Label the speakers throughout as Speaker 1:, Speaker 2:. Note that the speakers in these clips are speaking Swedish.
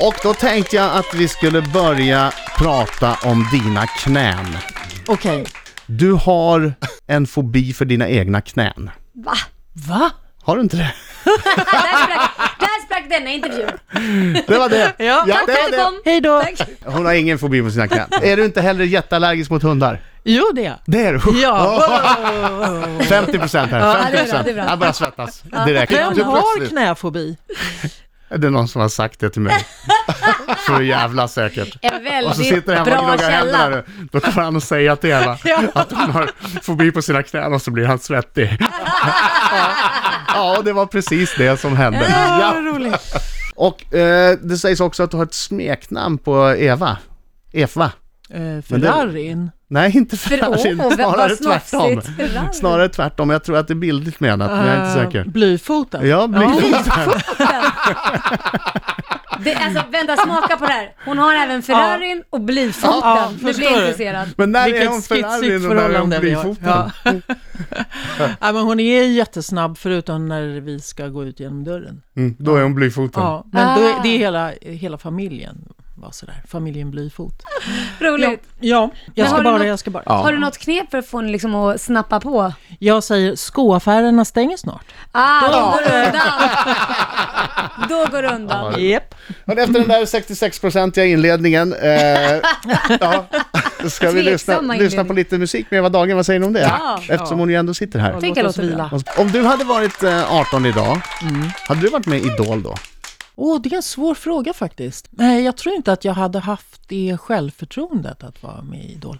Speaker 1: Och då tänkte jag att vi skulle börja prata om dina knän.
Speaker 2: Okej.
Speaker 1: Du har en fobi för dina egna knän.
Speaker 3: Va?
Speaker 2: Va?
Speaker 1: Har du inte det?
Speaker 3: Där sprack, där sprack denna intervjun.
Speaker 1: Det var det!
Speaker 2: Ja.
Speaker 1: det
Speaker 3: Tack för att
Speaker 1: var
Speaker 3: du
Speaker 1: det.
Speaker 3: kom.
Speaker 2: Hej då.
Speaker 3: Tack.
Speaker 1: Hon har ingen fobi mot sina knän. Är du inte heller jätteallergisk mot hundar?
Speaker 2: Jo, det är jag.
Speaker 1: Det är du!
Speaker 2: Ja.
Speaker 1: Åh, 50%
Speaker 2: Ja,
Speaker 1: här,
Speaker 3: det är bra,
Speaker 1: 50%.
Speaker 3: det är bra.
Speaker 1: Jag bara svettas direkt.
Speaker 2: Vem
Speaker 1: Du
Speaker 2: har
Speaker 1: plötsligt-
Speaker 2: knäfobi?
Speaker 1: Det är någon som har sagt det till mig. Så jävla säkert.
Speaker 3: En
Speaker 1: Och så
Speaker 3: väldigt
Speaker 1: sitter han och
Speaker 3: bra
Speaker 1: gnuggar händerna
Speaker 3: källa.
Speaker 1: nu. Då kommer han och säger till henne
Speaker 2: Ja.
Speaker 1: att hon har fobi på sina knän och så blir han svettig. Ja, det var precis det som hände.
Speaker 2: Ja,
Speaker 1: Ja.
Speaker 2: vad roligt.
Speaker 1: Och eh, det sägs också att du har ett smeknamn på Eva. Efva.
Speaker 2: Eh, Ferrarin.
Speaker 1: Nej, inte
Speaker 3: För, oh, åh,
Speaker 1: Ferrarin.
Speaker 3: vad-
Speaker 1: Alltså, Snarare
Speaker 3: vad
Speaker 1: tvärtom.
Speaker 3: snofsigt. Ferrari.
Speaker 1: Snarare tvärtom. Jag tror att det är bildligt menat, men jag är inte
Speaker 2: Eh,
Speaker 1: säker.
Speaker 2: Blyfoten.
Speaker 1: Ja, blir
Speaker 3: Det, alltså, vänta, smaka på det här. Hon har även Ferrarin och blyfoten.
Speaker 2: Ja, ja,
Speaker 3: du
Speaker 2: förstår
Speaker 3: blir
Speaker 2: du?
Speaker 3: intresserad.
Speaker 1: Men när är
Speaker 2: Vilket
Speaker 1: hon
Speaker 2: skitsigt
Speaker 1: Ferrarin och när är hon
Speaker 2: förhållande vi har.
Speaker 1: Blyfoten?
Speaker 2: Ja. ja, men hon är jättesnabb förutom när vi ska gå ut genom dörren.
Speaker 1: Mm, då är hon Blyfoten.
Speaker 2: Ja, men då
Speaker 3: Ah.
Speaker 2: är, det är hela, hela familjen var sådär. Familjen Blyfot. Ja,
Speaker 3: Roligt.
Speaker 2: ja
Speaker 3: Men
Speaker 2: jag
Speaker 3: har
Speaker 2: ska
Speaker 3: du
Speaker 2: bara,
Speaker 3: något-
Speaker 2: jag ska bara.
Speaker 3: Har du något knep för att få henne liksom att snappa på?
Speaker 2: Jag säger skoaffärerna stänger snart.
Speaker 3: Ah, då går det undan. Då går det undan.
Speaker 2: Yep.
Speaker 1: Men efter den där 66-procentiga inledningen, eh, ja, ska vi lyssna,
Speaker 3: Tveksamma
Speaker 1: lyssna på
Speaker 3: inledning.
Speaker 1: lite musik med Eva Dagen, vad säger ni om det?
Speaker 3: Ja.
Speaker 1: Eftersom hon ju ändå sitter här.
Speaker 3: Tänk,
Speaker 2: Låt
Speaker 3: det
Speaker 2: oss
Speaker 3: låter bra.
Speaker 2: vila.
Speaker 1: Om du hade varit eh, 18 idag,
Speaker 2: Mm.
Speaker 1: hade du varit med i Idol då?
Speaker 2: Åh, det är en svår fråga faktiskt. Nej, jag tror inte att jag hade haft det självförtroendet att vara med i Idol.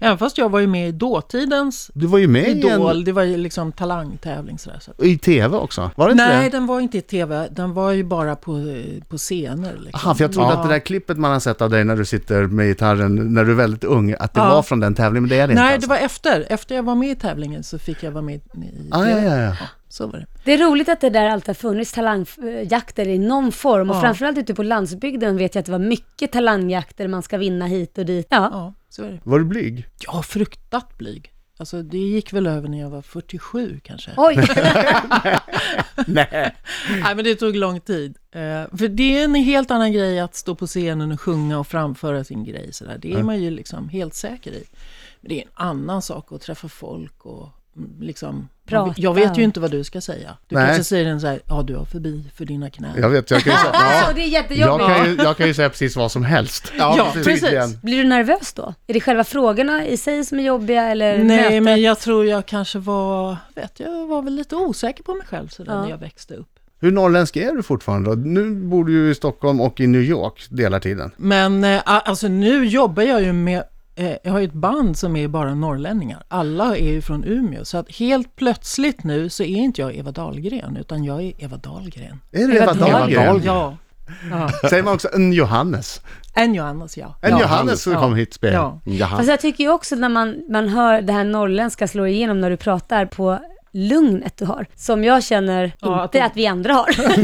Speaker 2: Även fast jag var ju med i dåtidens
Speaker 1: Du var ju med i,
Speaker 2: Idol,
Speaker 1: en,
Speaker 2: det var ju liksom talangtävling sådär. Så. att-
Speaker 1: i TV också, var det inte
Speaker 2: Nej,
Speaker 1: det?
Speaker 2: den var inte i tv, den var ju bara på, eh, på scener. Liksom.
Speaker 1: Aha, för jag trodde
Speaker 2: Ja.
Speaker 1: att det där klippet man har sett av dig när du sitter med gitarren när du är väldigt ung, att det
Speaker 2: Ja.
Speaker 1: var från den tävlingen, men det är det inte
Speaker 2: Nej,
Speaker 1: alltså.
Speaker 2: det var efter. Efter jag var med i tävlingen så fick jag vara med i
Speaker 1: Ah, ja,
Speaker 2: tv.
Speaker 1: ja, ja.
Speaker 2: Så var det.
Speaker 3: Det är roligt att det där alltid har funnits talangjakter i någon form och framförallt ute på landsbygden vet jag att det var mycket talangjakter man ska vinna hit och dit. Ja,
Speaker 2: Ja, så var det.
Speaker 1: Var du blyg?
Speaker 2: Jag har fruktat blyg. Alltså det gick väl över när jag var 47 kanske.
Speaker 3: oj,
Speaker 2: Nej, men det tog lång tid. Eh, för det är en helt annan grej att stå på scenen och sjunga och framföra sin grej. Sådär. Det är man ju liksom helt säker i. Men det är en annan sak att träffa folk och mm, liksom...
Speaker 3: Prata.
Speaker 2: Jag vet ju inte vad du ska säga. Du
Speaker 1: Nej.
Speaker 2: kanske säger en så här, ja du har förbi för dina knän.
Speaker 1: Jag vet, jag kan ju säga,
Speaker 3: alltså
Speaker 1: ja,
Speaker 3: det är
Speaker 1: jag
Speaker 3: jättejobbigt.
Speaker 1: kan ju, jag kan ju säga precis vad som helst.
Speaker 2: Ja, precis.
Speaker 1: tydligen.
Speaker 3: Blir du nervös då? Är det själva frågorna i sig som är jobbiga eller
Speaker 2: Nej,
Speaker 3: mötet?
Speaker 2: men jag tror jag kanske var, vet jag var väl lite osäker på mig själv sådär
Speaker 3: Ja.
Speaker 2: när jag växte upp.
Speaker 1: Hur norrländsk är du fortfarande då? Nu bor du ju i Stockholm och i New York delar tiden.
Speaker 2: Men eh, a- alltså nu jobbar jag ju med, eh, jag har ju ett band som är bara norrlänningar. Alla är ju från Umeå, så att helt plötsligt nu så är inte jag Eva Dahlgren, utan jag är Eva Dahlgren.
Speaker 1: Är det Eva Dahlgren?
Speaker 2: Ja. ja.
Speaker 1: Säger man också en Johannes?
Speaker 2: En Johannes, ja.
Speaker 1: En
Speaker 2: ja.
Speaker 1: Johannes som
Speaker 2: ja.
Speaker 1: kom hit spel.
Speaker 2: Ja.
Speaker 3: Fast jag tycker ju också när man, man hör det här norrländska slå igenom när du pratar på lugnet du har, som jag känner
Speaker 2: Ja,
Speaker 3: inte
Speaker 2: att-
Speaker 3: att, vi andra har.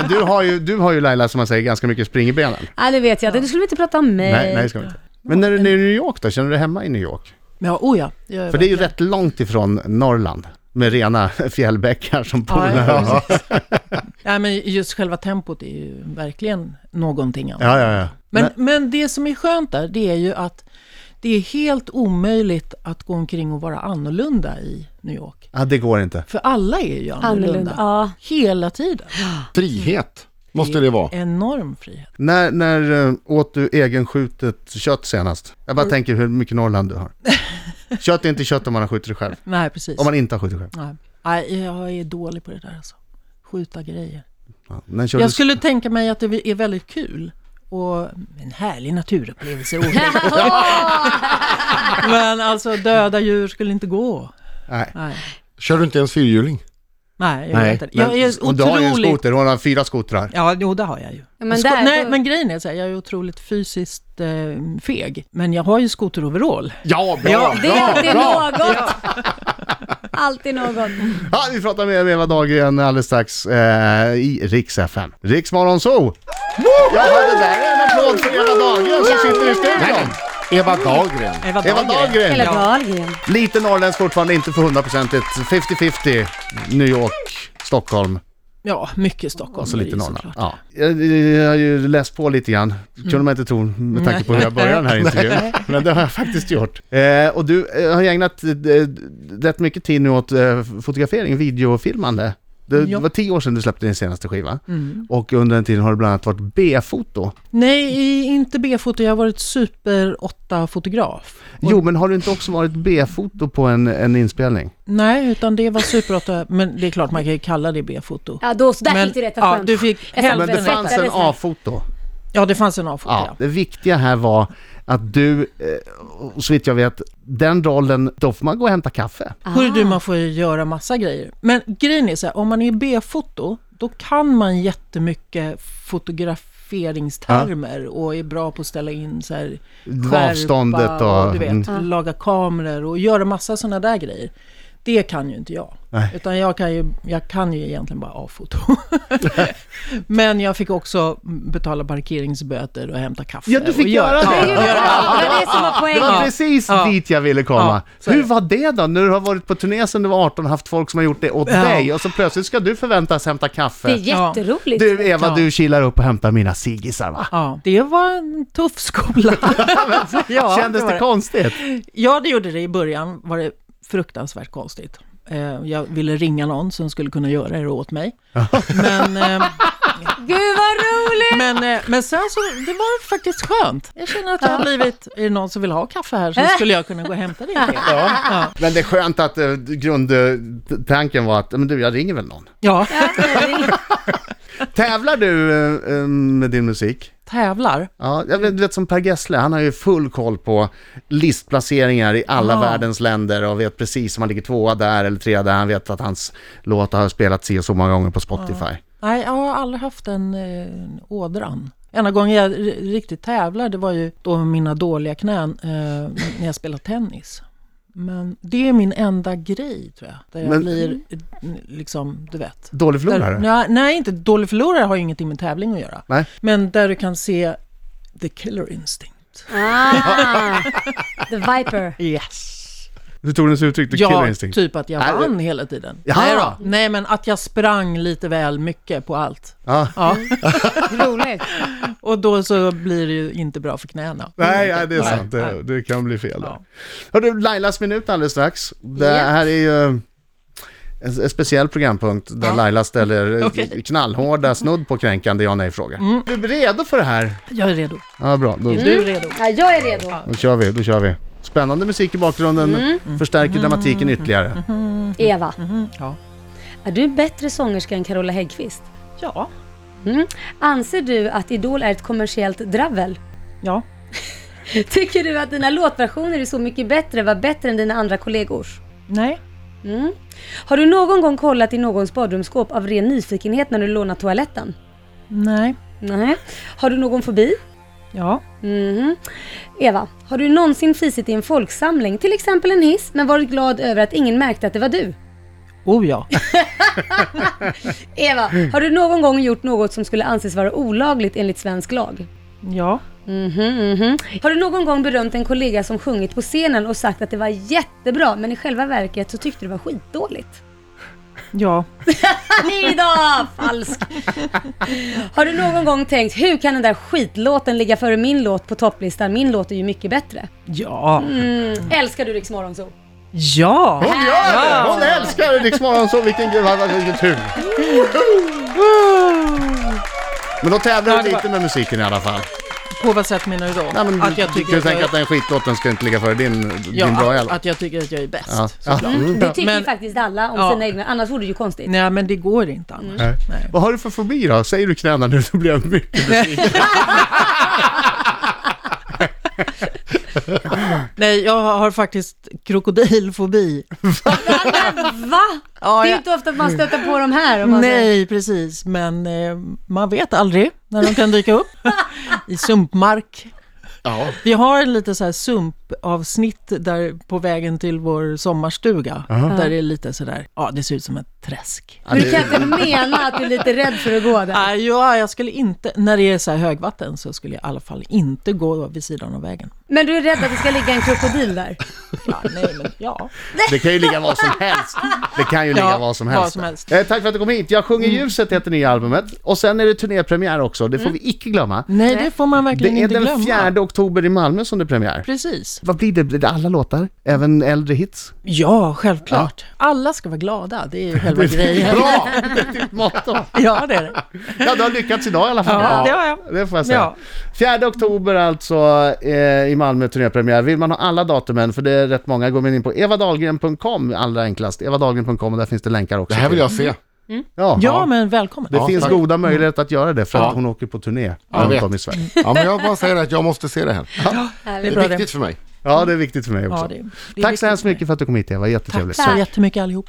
Speaker 1: Men du har, ju, du har ju Laila som man säger ganska mycket spring i benen.
Speaker 3: ja, det vet jag. Du skulle inte prata om mig.
Speaker 1: Nej, nej det ska vi inte. Men när du är i New York då, känner du dig hemma i New York?
Speaker 2: Men ja, oh ja. det gör jag
Speaker 1: För det är ju
Speaker 2: verkligen.
Speaker 1: rätt långt ifrån Norrland med rena fjällbäckar som
Speaker 2: Ja,
Speaker 1: polar.
Speaker 2: ja, precis. Nej, men just själva tempot är ju verkligen någonting annat.
Speaker 1: Ja, ja, ja.
Speaker 2: Men, men det som är skönt där, det är ju att det är helt omöjligt att gå omkring och vara annorlunda i New York.
Speaker 1: ja, det går inte.
Speaker 2: För alla är ju annorlunda.
Speaker 3: Annorlunda. Ja.
Speaker 2: Hela tiden.
Speaker 4: Frihet måste det vara.
Speaker 2: Enorm frihet.
Speaker 1: När, när eh, åt du egenskjutet kött senast? Jag
Speaker 2: Mm.
Speaker 1: bara tänker hur mycket Norrland du har. Kött är inte kött om man har skjutit det själv.
Speaker 2: Nej, precis.
Speaker 1: Om man inte har skjutit själv.
Speaker 2: Nej. Nej, jag är dålig på det där alltså. Skjuta grejer.
Speaker 1: Ja, när kör
Speaker 2: Jag
Speaker 1: du-
Speaker 2: skulle tänka mig att det är väldigt kul. Och en härlig naturupplevelse. åt mig. Men alltså döda djur skulle inte gå.
Speaker 1: Nej.
Speaker 2: Nej,
Speaker 4: Kör du inte ens fyrhjuling?
Speaker 2: Nej jag
Speaker 4: Nej,
Speaker 2: vet inte. Jag är
Speaker 1: Men- Och du har ju en
Speaker 2: otroligt
Speaker 1: skoter, hon har fyra skotrar.
Speaker 2: Ja, jo, det har jag ju.
Speaker 3: Ja, men
Speaker 2: Sko-
Speaker 3: där-
Speaker 2: Nej,
Speaker 3: då-
Speaker 2: men grejen är så här, jag är otroligt fysiskt eh, feg. Men jag har ju skoteroverall.
Speaker 4: Ja, bra!
Speaker 2: Ja,
Speaker 3: Det är alltid något. Alltid något.
Speaker 1: Ja, vi pratar mer med Eva Dahlgren alldeles strax eh, i Riks FM. Riks Morgonzoo! Ja, det där är en applåd för Eva Dahlgren som sitter i studion!
Speaker 4: Eva Dahlgren.
Speaker 1: Eva
Speaker 3: Eller
Speaker 1: Dahlgren!
Speaker 3: Dahlgren.
Speaker 1: Lite norrländsk fortfarande, inte för hundraprocentigt. 50-50, New York, Stockholm.
Speaker 2: Ja, mycket Stockholm.
Speaker 1: Och så
Speaker 2: är det
Speaker 1: Alltså lite
Speaker 2: ju
Speaker 1: Norrland.
Speaker 2: såklart. Mm.
Speaker 1: Ja. Jag, jag har ju läst på lite grann, kunde man inte tro med tanke på hur jag började den här intervjun. Men det har jag faktiskt gjort. Eh, och du eh, har ju ägnat eh, rätt mycket tid nu åt eh, fotografering, videofilmande. Det
Speaker 2: Ja.
Speaker 1: var tio år sedan du släppte din senaste skiva.
Speaker 2: Mm.
Speaker 1: Och under den tiden har det bland annat varit B-foto.
Speaker 2: Nej, i- inte B-foto. Jag har varit super 8-fotograf.
Speaker 1: Jo, men har du inte också varit B-foto på en, en inspelning?
Speaker 2: Nej, utan det var super 8. Men det är klart man kan ju kalla det B-foto.
Speaker 3: Ja, då, så där
Speaker 2: men,
Speaker 3: fick du rätt. vad
Speaker 2: ja,
Speaker 3: skönt.
Speaker 2: du fick
Speaker 3: Jag sa
Speaker 1: Men det
Speaker 3: Helvete.
Speaker 1: fanns en A-foto.
Speaker 2: Ja, det fanns en A-foto,
Speaker 1: Ja,
Speaker 2: ja.
Speaker 1: det viktiga här var att du, eh, och så vitt jag vet, den rollen, då får man gå och hämta kaffe.
Speaker 2: Hörru
Speaker 3: Ah.
Speaker 2: du, man får ju göra massa grejer. Men grejen är så här, om man är B-foto, då kan man jättemycket fotograferingstermer och är bra på att ställa in så här skärpa
Speaker 1: Avståndet och...
Speaker 2: och du vet,
Speaker 1: Mm.
Speaker 2: laga kameror och göra massa sådana där grejer. Det kan ju inte jag.
Speaker 1: Nej.
Speaker 2: Utan jag kan ju, jag kan ju egentligen bara avfoto. Men jag fick också betala parkeringsböter och hämta kaffe.
Speaker 1: Ja, du fick
Speaker 2: och
Speaker 1: göra det.
Speaker 3: Det är ju bra. Det var det som var
Speaker 1: Det
Speaker 3: poängen.
Speaker 1: var
Speaker 2: Ja.
Speaker 1: precis
Speaker 2: Ja.
Speaker 1: dit jag ville komma.
Speaker 2: Ja, så är
Speaker 1: Hur
Speaker 2: det.
Speaker 1: var det då, när du har varit på turné sedan du var 18 och haft folk som har gjort det åt
Speaker 2: Ja.
Speaker 1: dig och så plötsligt ska du förväntas hämta
Speaker 3: Det är
Speaker 1: kaffe?
Speaker 2: Ja.
Speaker 3: jätteroligt.
Speaker 1: Du Eva,
Speaker 2: Ja.
Speaker 1: du kilar upp och hämtar mina ciggisar va?
Speaker 2: Ja, det var en tuff skola. ja,
Speaker 1: Kändes
Speaker 2: var
Speaker 1: det konstigt?
Speaker 2: Ja, det gjorde det. I början var det fruktansvärt konstigt. Eh, Jag ville ringa någon som skulle kunna göra det åt mig. Men, eh,
Speaker 3: Gud vad roligt!
Speaker 2: men, eh, men sen så, det var faktiskt skönt. Jag känner att jag har blivit, är det någon som vill ha kaffe här så skulle jag kunna gå och hämta det. Ja,
Speaker 1: Men det är skönt att eh, grundtanken var att, men du, jag ringer väl någon.
Speaker 2: ja.
Speaker 1: Tävlar du eh, eh, med din musik?
Speaker 2: tävlar.
Speaker 1: Ja, jag vet, du vet som Per Gessle, han har ju full koll på listplaceringar i alla
Speaker 2: Ja.
Speaker 1: världens länder och vet precis om han ligger tvåa där eller trea där. Han vet att hans låt har spelats si och så många gånger på Spotify.
Speaker 2: Nej, jag har aldrig haft en eh, ådran. Enda gången jag ri- riktigt tävlar, det var ju då med mina dåliga knän eh, när jag spelade tennis. Men det är min enda grej, tror jag. Där jag
Speaker 1: Men-
Speaker 2: blir, eh, liksom, du vet.
Speaker 1: Dålig förlorare.
Speaker 2: Där, nej, nej, inte dålig förlorare har ju ingenting med tävling att göra.
Speaker 1: Nej.
Speaker 2: Men där du kan se the killer instinct.
Speaker 3: Ah, the Viper.
Speaker 2: Yes.
Speaker 1: Hur tog den sig uttryck? The killer
Speaker 2: Ja,
Speaker 1: instinct?
Speaker 2: typ att jag
Speaker 1: Nej,
Speaker 2: vann hela tiden.
Speaker 1: Jaha.
Speaker 2: Nej, då. nej, men att jag sprang lite väl mycket på allt.
Speaker 1: Ja.
Speaker 2: Ja.
Speaker 3: Roligt.
Speaker 2: Och då så blir det ju inte bra för knäna.
Speaker 1: Nej, nej, det är
Speaker 4: Nej.
Speaker 1: sant. Det, det kan bli fel. där.
Speaker 2: Ja.
Speaker 1: Hörru, Lailas minut alldeles strax. Det
Speaker 3: Ja.
Speaker 1: här är ju en, en speciell programpunkt där
Speaker 2: Ja.
Speaker 1: Laila ställer okay.
Speaker 2: Okej. Mm.
Speaker 1: knallhårda, snudd på kränkande ja nej-frågor. Är du redo för det här?
Speaker 2: Jag är redo.
Speaker 1: Ja, bra. Då,
Speaker 2: Är du redo?
Speaker 3: Ja, jag är redo.
Speaker 1: då kör vi, då kör vi. Spännande musik i bakgrunden,
Speaker 2: Mm.
Speaker 1: förstärker dramatiken ytterligare.
Speaker 3: Eva,
Speaker 2: Ja.
Speaker 3: är du en bättre sångerska än Carola Häggkvist?
Speaker 2: Ja.
Speaker 3: Mm. Anser du att Idol är ett kommersiellt dravel?
Speaker 2: Ja.
Speaker 3: Tycker du att dina låtversioner är så mycket bättre, var bättre än dina andra kollegors?
Speaker 2: Nej.
Speaker 3: Mm. Har du någon gång kollat i någons badrumsskåp av ren nyfikenhet när du lånat toaletten?
Speaker 2: Nej.
Speaker 3: Nej. Har du någon fobi?
Speaker 2: Ja.
Speaker 3: Mhm. Eva, har du någonsin fisit i en folksamling, till exempel en hiss, men varit glad över att ingen märkte att det var du?
Speaker 2: Oh ja.
Speaker 3: Eva, har du någon gång gjort något som skulle anses vara olagligt enligt svensk lag?
Speaker 2: Ja.
Speaker 3: Mhm, mhm. Har du någon gång berömt en kollega som sjungit på scenen och sagt att det var jättebra, men i själva verket så tyckte du det var skitdåligt?
Speaker 2: Ja.
Speaker 3: Nej då! Falsk! Har du någon gång tänkt, hur kan den där skitlåten ligga före min låt på topplistan? Min låt är ju mycket bättre.
Speaker 2: Ja.
Speaker 3: Mm. Älskar du Rix Morgonzoo?
Speaker 2: Ja.
Speaker 1: Hon gör det! Hon älskar Rix så vilken gud, vilken tur! Men då tävlar du lite med musiken i alla fall.
Speaker 2: På vad sätt menar du då?
Speaker 1: Nej, men
Speaker 2: att jag tycker
Speaker 1: du
Speaker 2: att jag,
Speaker 1: tänker att den skitlåten ska inte ligga före din,
Speaker 2: ja,
Speaker 1: din bra
Speaker 2: att,
Speaker 1: hjälp?
Speaker 2: att jag tycker att jag är bäst.
Speaker 1: Ja. Mm.
Speaker 2: såklart. Mm.
Speaker 1: Ja.
Speaker 3: Det tycker
Speaker 2: Men-
Speaker 3: ju faktiskt alla om
Speaker 2: Ja.
Speaker 3: sina egna, annars vore det ju konstigt.
Speaker 2: Nej, men det går inte annars.
Speaker 1: Nej.
Speaker 2: Nej.
Speaker 1: Vad har du för fobi då? Säger du knäna nu så blir jag mycket besviken.
Speaker 2: Nej, jag har faktiskt krokodilfobi.
Speaker 3: Va?
Speaker 2: Ja,
Speaker 3: Det är ju
Speaker 2: jag...
Speaker 3: inte ofta man stöter på de här. Om man
Speaker 2: Nej, precis. Men eh, man vet aldrig när de kan dyka upp. I sumpmark.
Speaker 1: ja.
Speaker 2: Vi har en lite så här sump klippavsnitt där på vägen till vår sommarstuga.
Speaker 1: Aha.
Speaker 2: Där det är lite sådär, ja det ser ut som ett träsk.
Speaker 1: Ja,
Speaker 3: Men
Speaker 1: det,
Speaker 3: du kan inte mena att du är lite rädd för att gå där?
Speaker 2: Nej, ja, jag skulle inte, när det är så här högvatten så skulle jag i alla fall inte gå vid sidan av vägen.
Speaker 3: Men du är rädd att det ska ligga en krokodil där?
Speaker 2: Ja, nej, men ja.
Speaker 1: det kan ju ligga vad som helst. Det kan ju ligga
Speaker 2: Ja,
Speaker 1: vad som helst.
Speaker 2: vad som helst. Mm.
Speaker 1: Eh, tack för att du kom hit. Jag sjunger ljuset heter nya albumet. Och sen är det turnépremiär också, det får vi icke glömma.
Speaker 2: Nej, det får man
Speaker 1: Det
Speaker 2: verkligen
Speaker 1: är
Speaker 2: inte
Speaker 1: den
Speaker 2: glömma.
Speaker 1: 4 oktober i Malmö som det är premiär.
Speaker 2: Precis.
Speaker 1: Vad blir det? Blir det alla låtar? Även äldre hits?
Speaker 2: Ja, självklart. Alla ska vara glada, det är ju själva grejen.
Speaker 1: Bra! Det är ditt motto.
Speaker 2: Ja, det är det.
Speaker 1: Ja, du har lyckats idag i alla fall.
Speaker 2: Ja, det har jag.
Speaker 1: Det får jag säga.
Speaker 2: Ja.
Speaker 1: 4 oktober alltså eh, i Malmö turnépremiär. Vill man ha alla datumen, för det är rätt många, går man in på evadahlgren.com allra enklast. evadahlgren.com och där finns det länkar också.
Speaker 4: Det här vill jag se.
Speaker 1: Ja,
Speaker 2: Ja, men välkommen.
Speaker 1: det
Speaker 4: Ja,
Speaker 1: finns
Speaker 4: tack.
Speaker 1: goda möjligheter att göra det för att
Speaker 4: Ja.
Speaker 1: hon åker på turné
Speaker 4: jag
Speaker 1: runt
Speaker 4: vet.
Speaker 1: om i Sverige.
Speaker 4: Ja, men jag bara säger att jag måste se det här.
Speaker 2: Det
Speaker 4: Det
Speaker 2: är bra det.
Speaker 4: är viktigt för mig.
Speaker 1: Ja, det är viktigt för mig också.
Speaker 2: Ja, det, det
Speaker 1: Tack
Speaker 2: är
Speaker 1: så
Speaker 2: viktigt
Speaker 1: hemskt
Speaker 2: för mig.
Speaker 1: mycket för att du kom hit Eva, jättetrevligt.
Speaker 3: Tack.
Speaker 2: Så jättemycket allihop.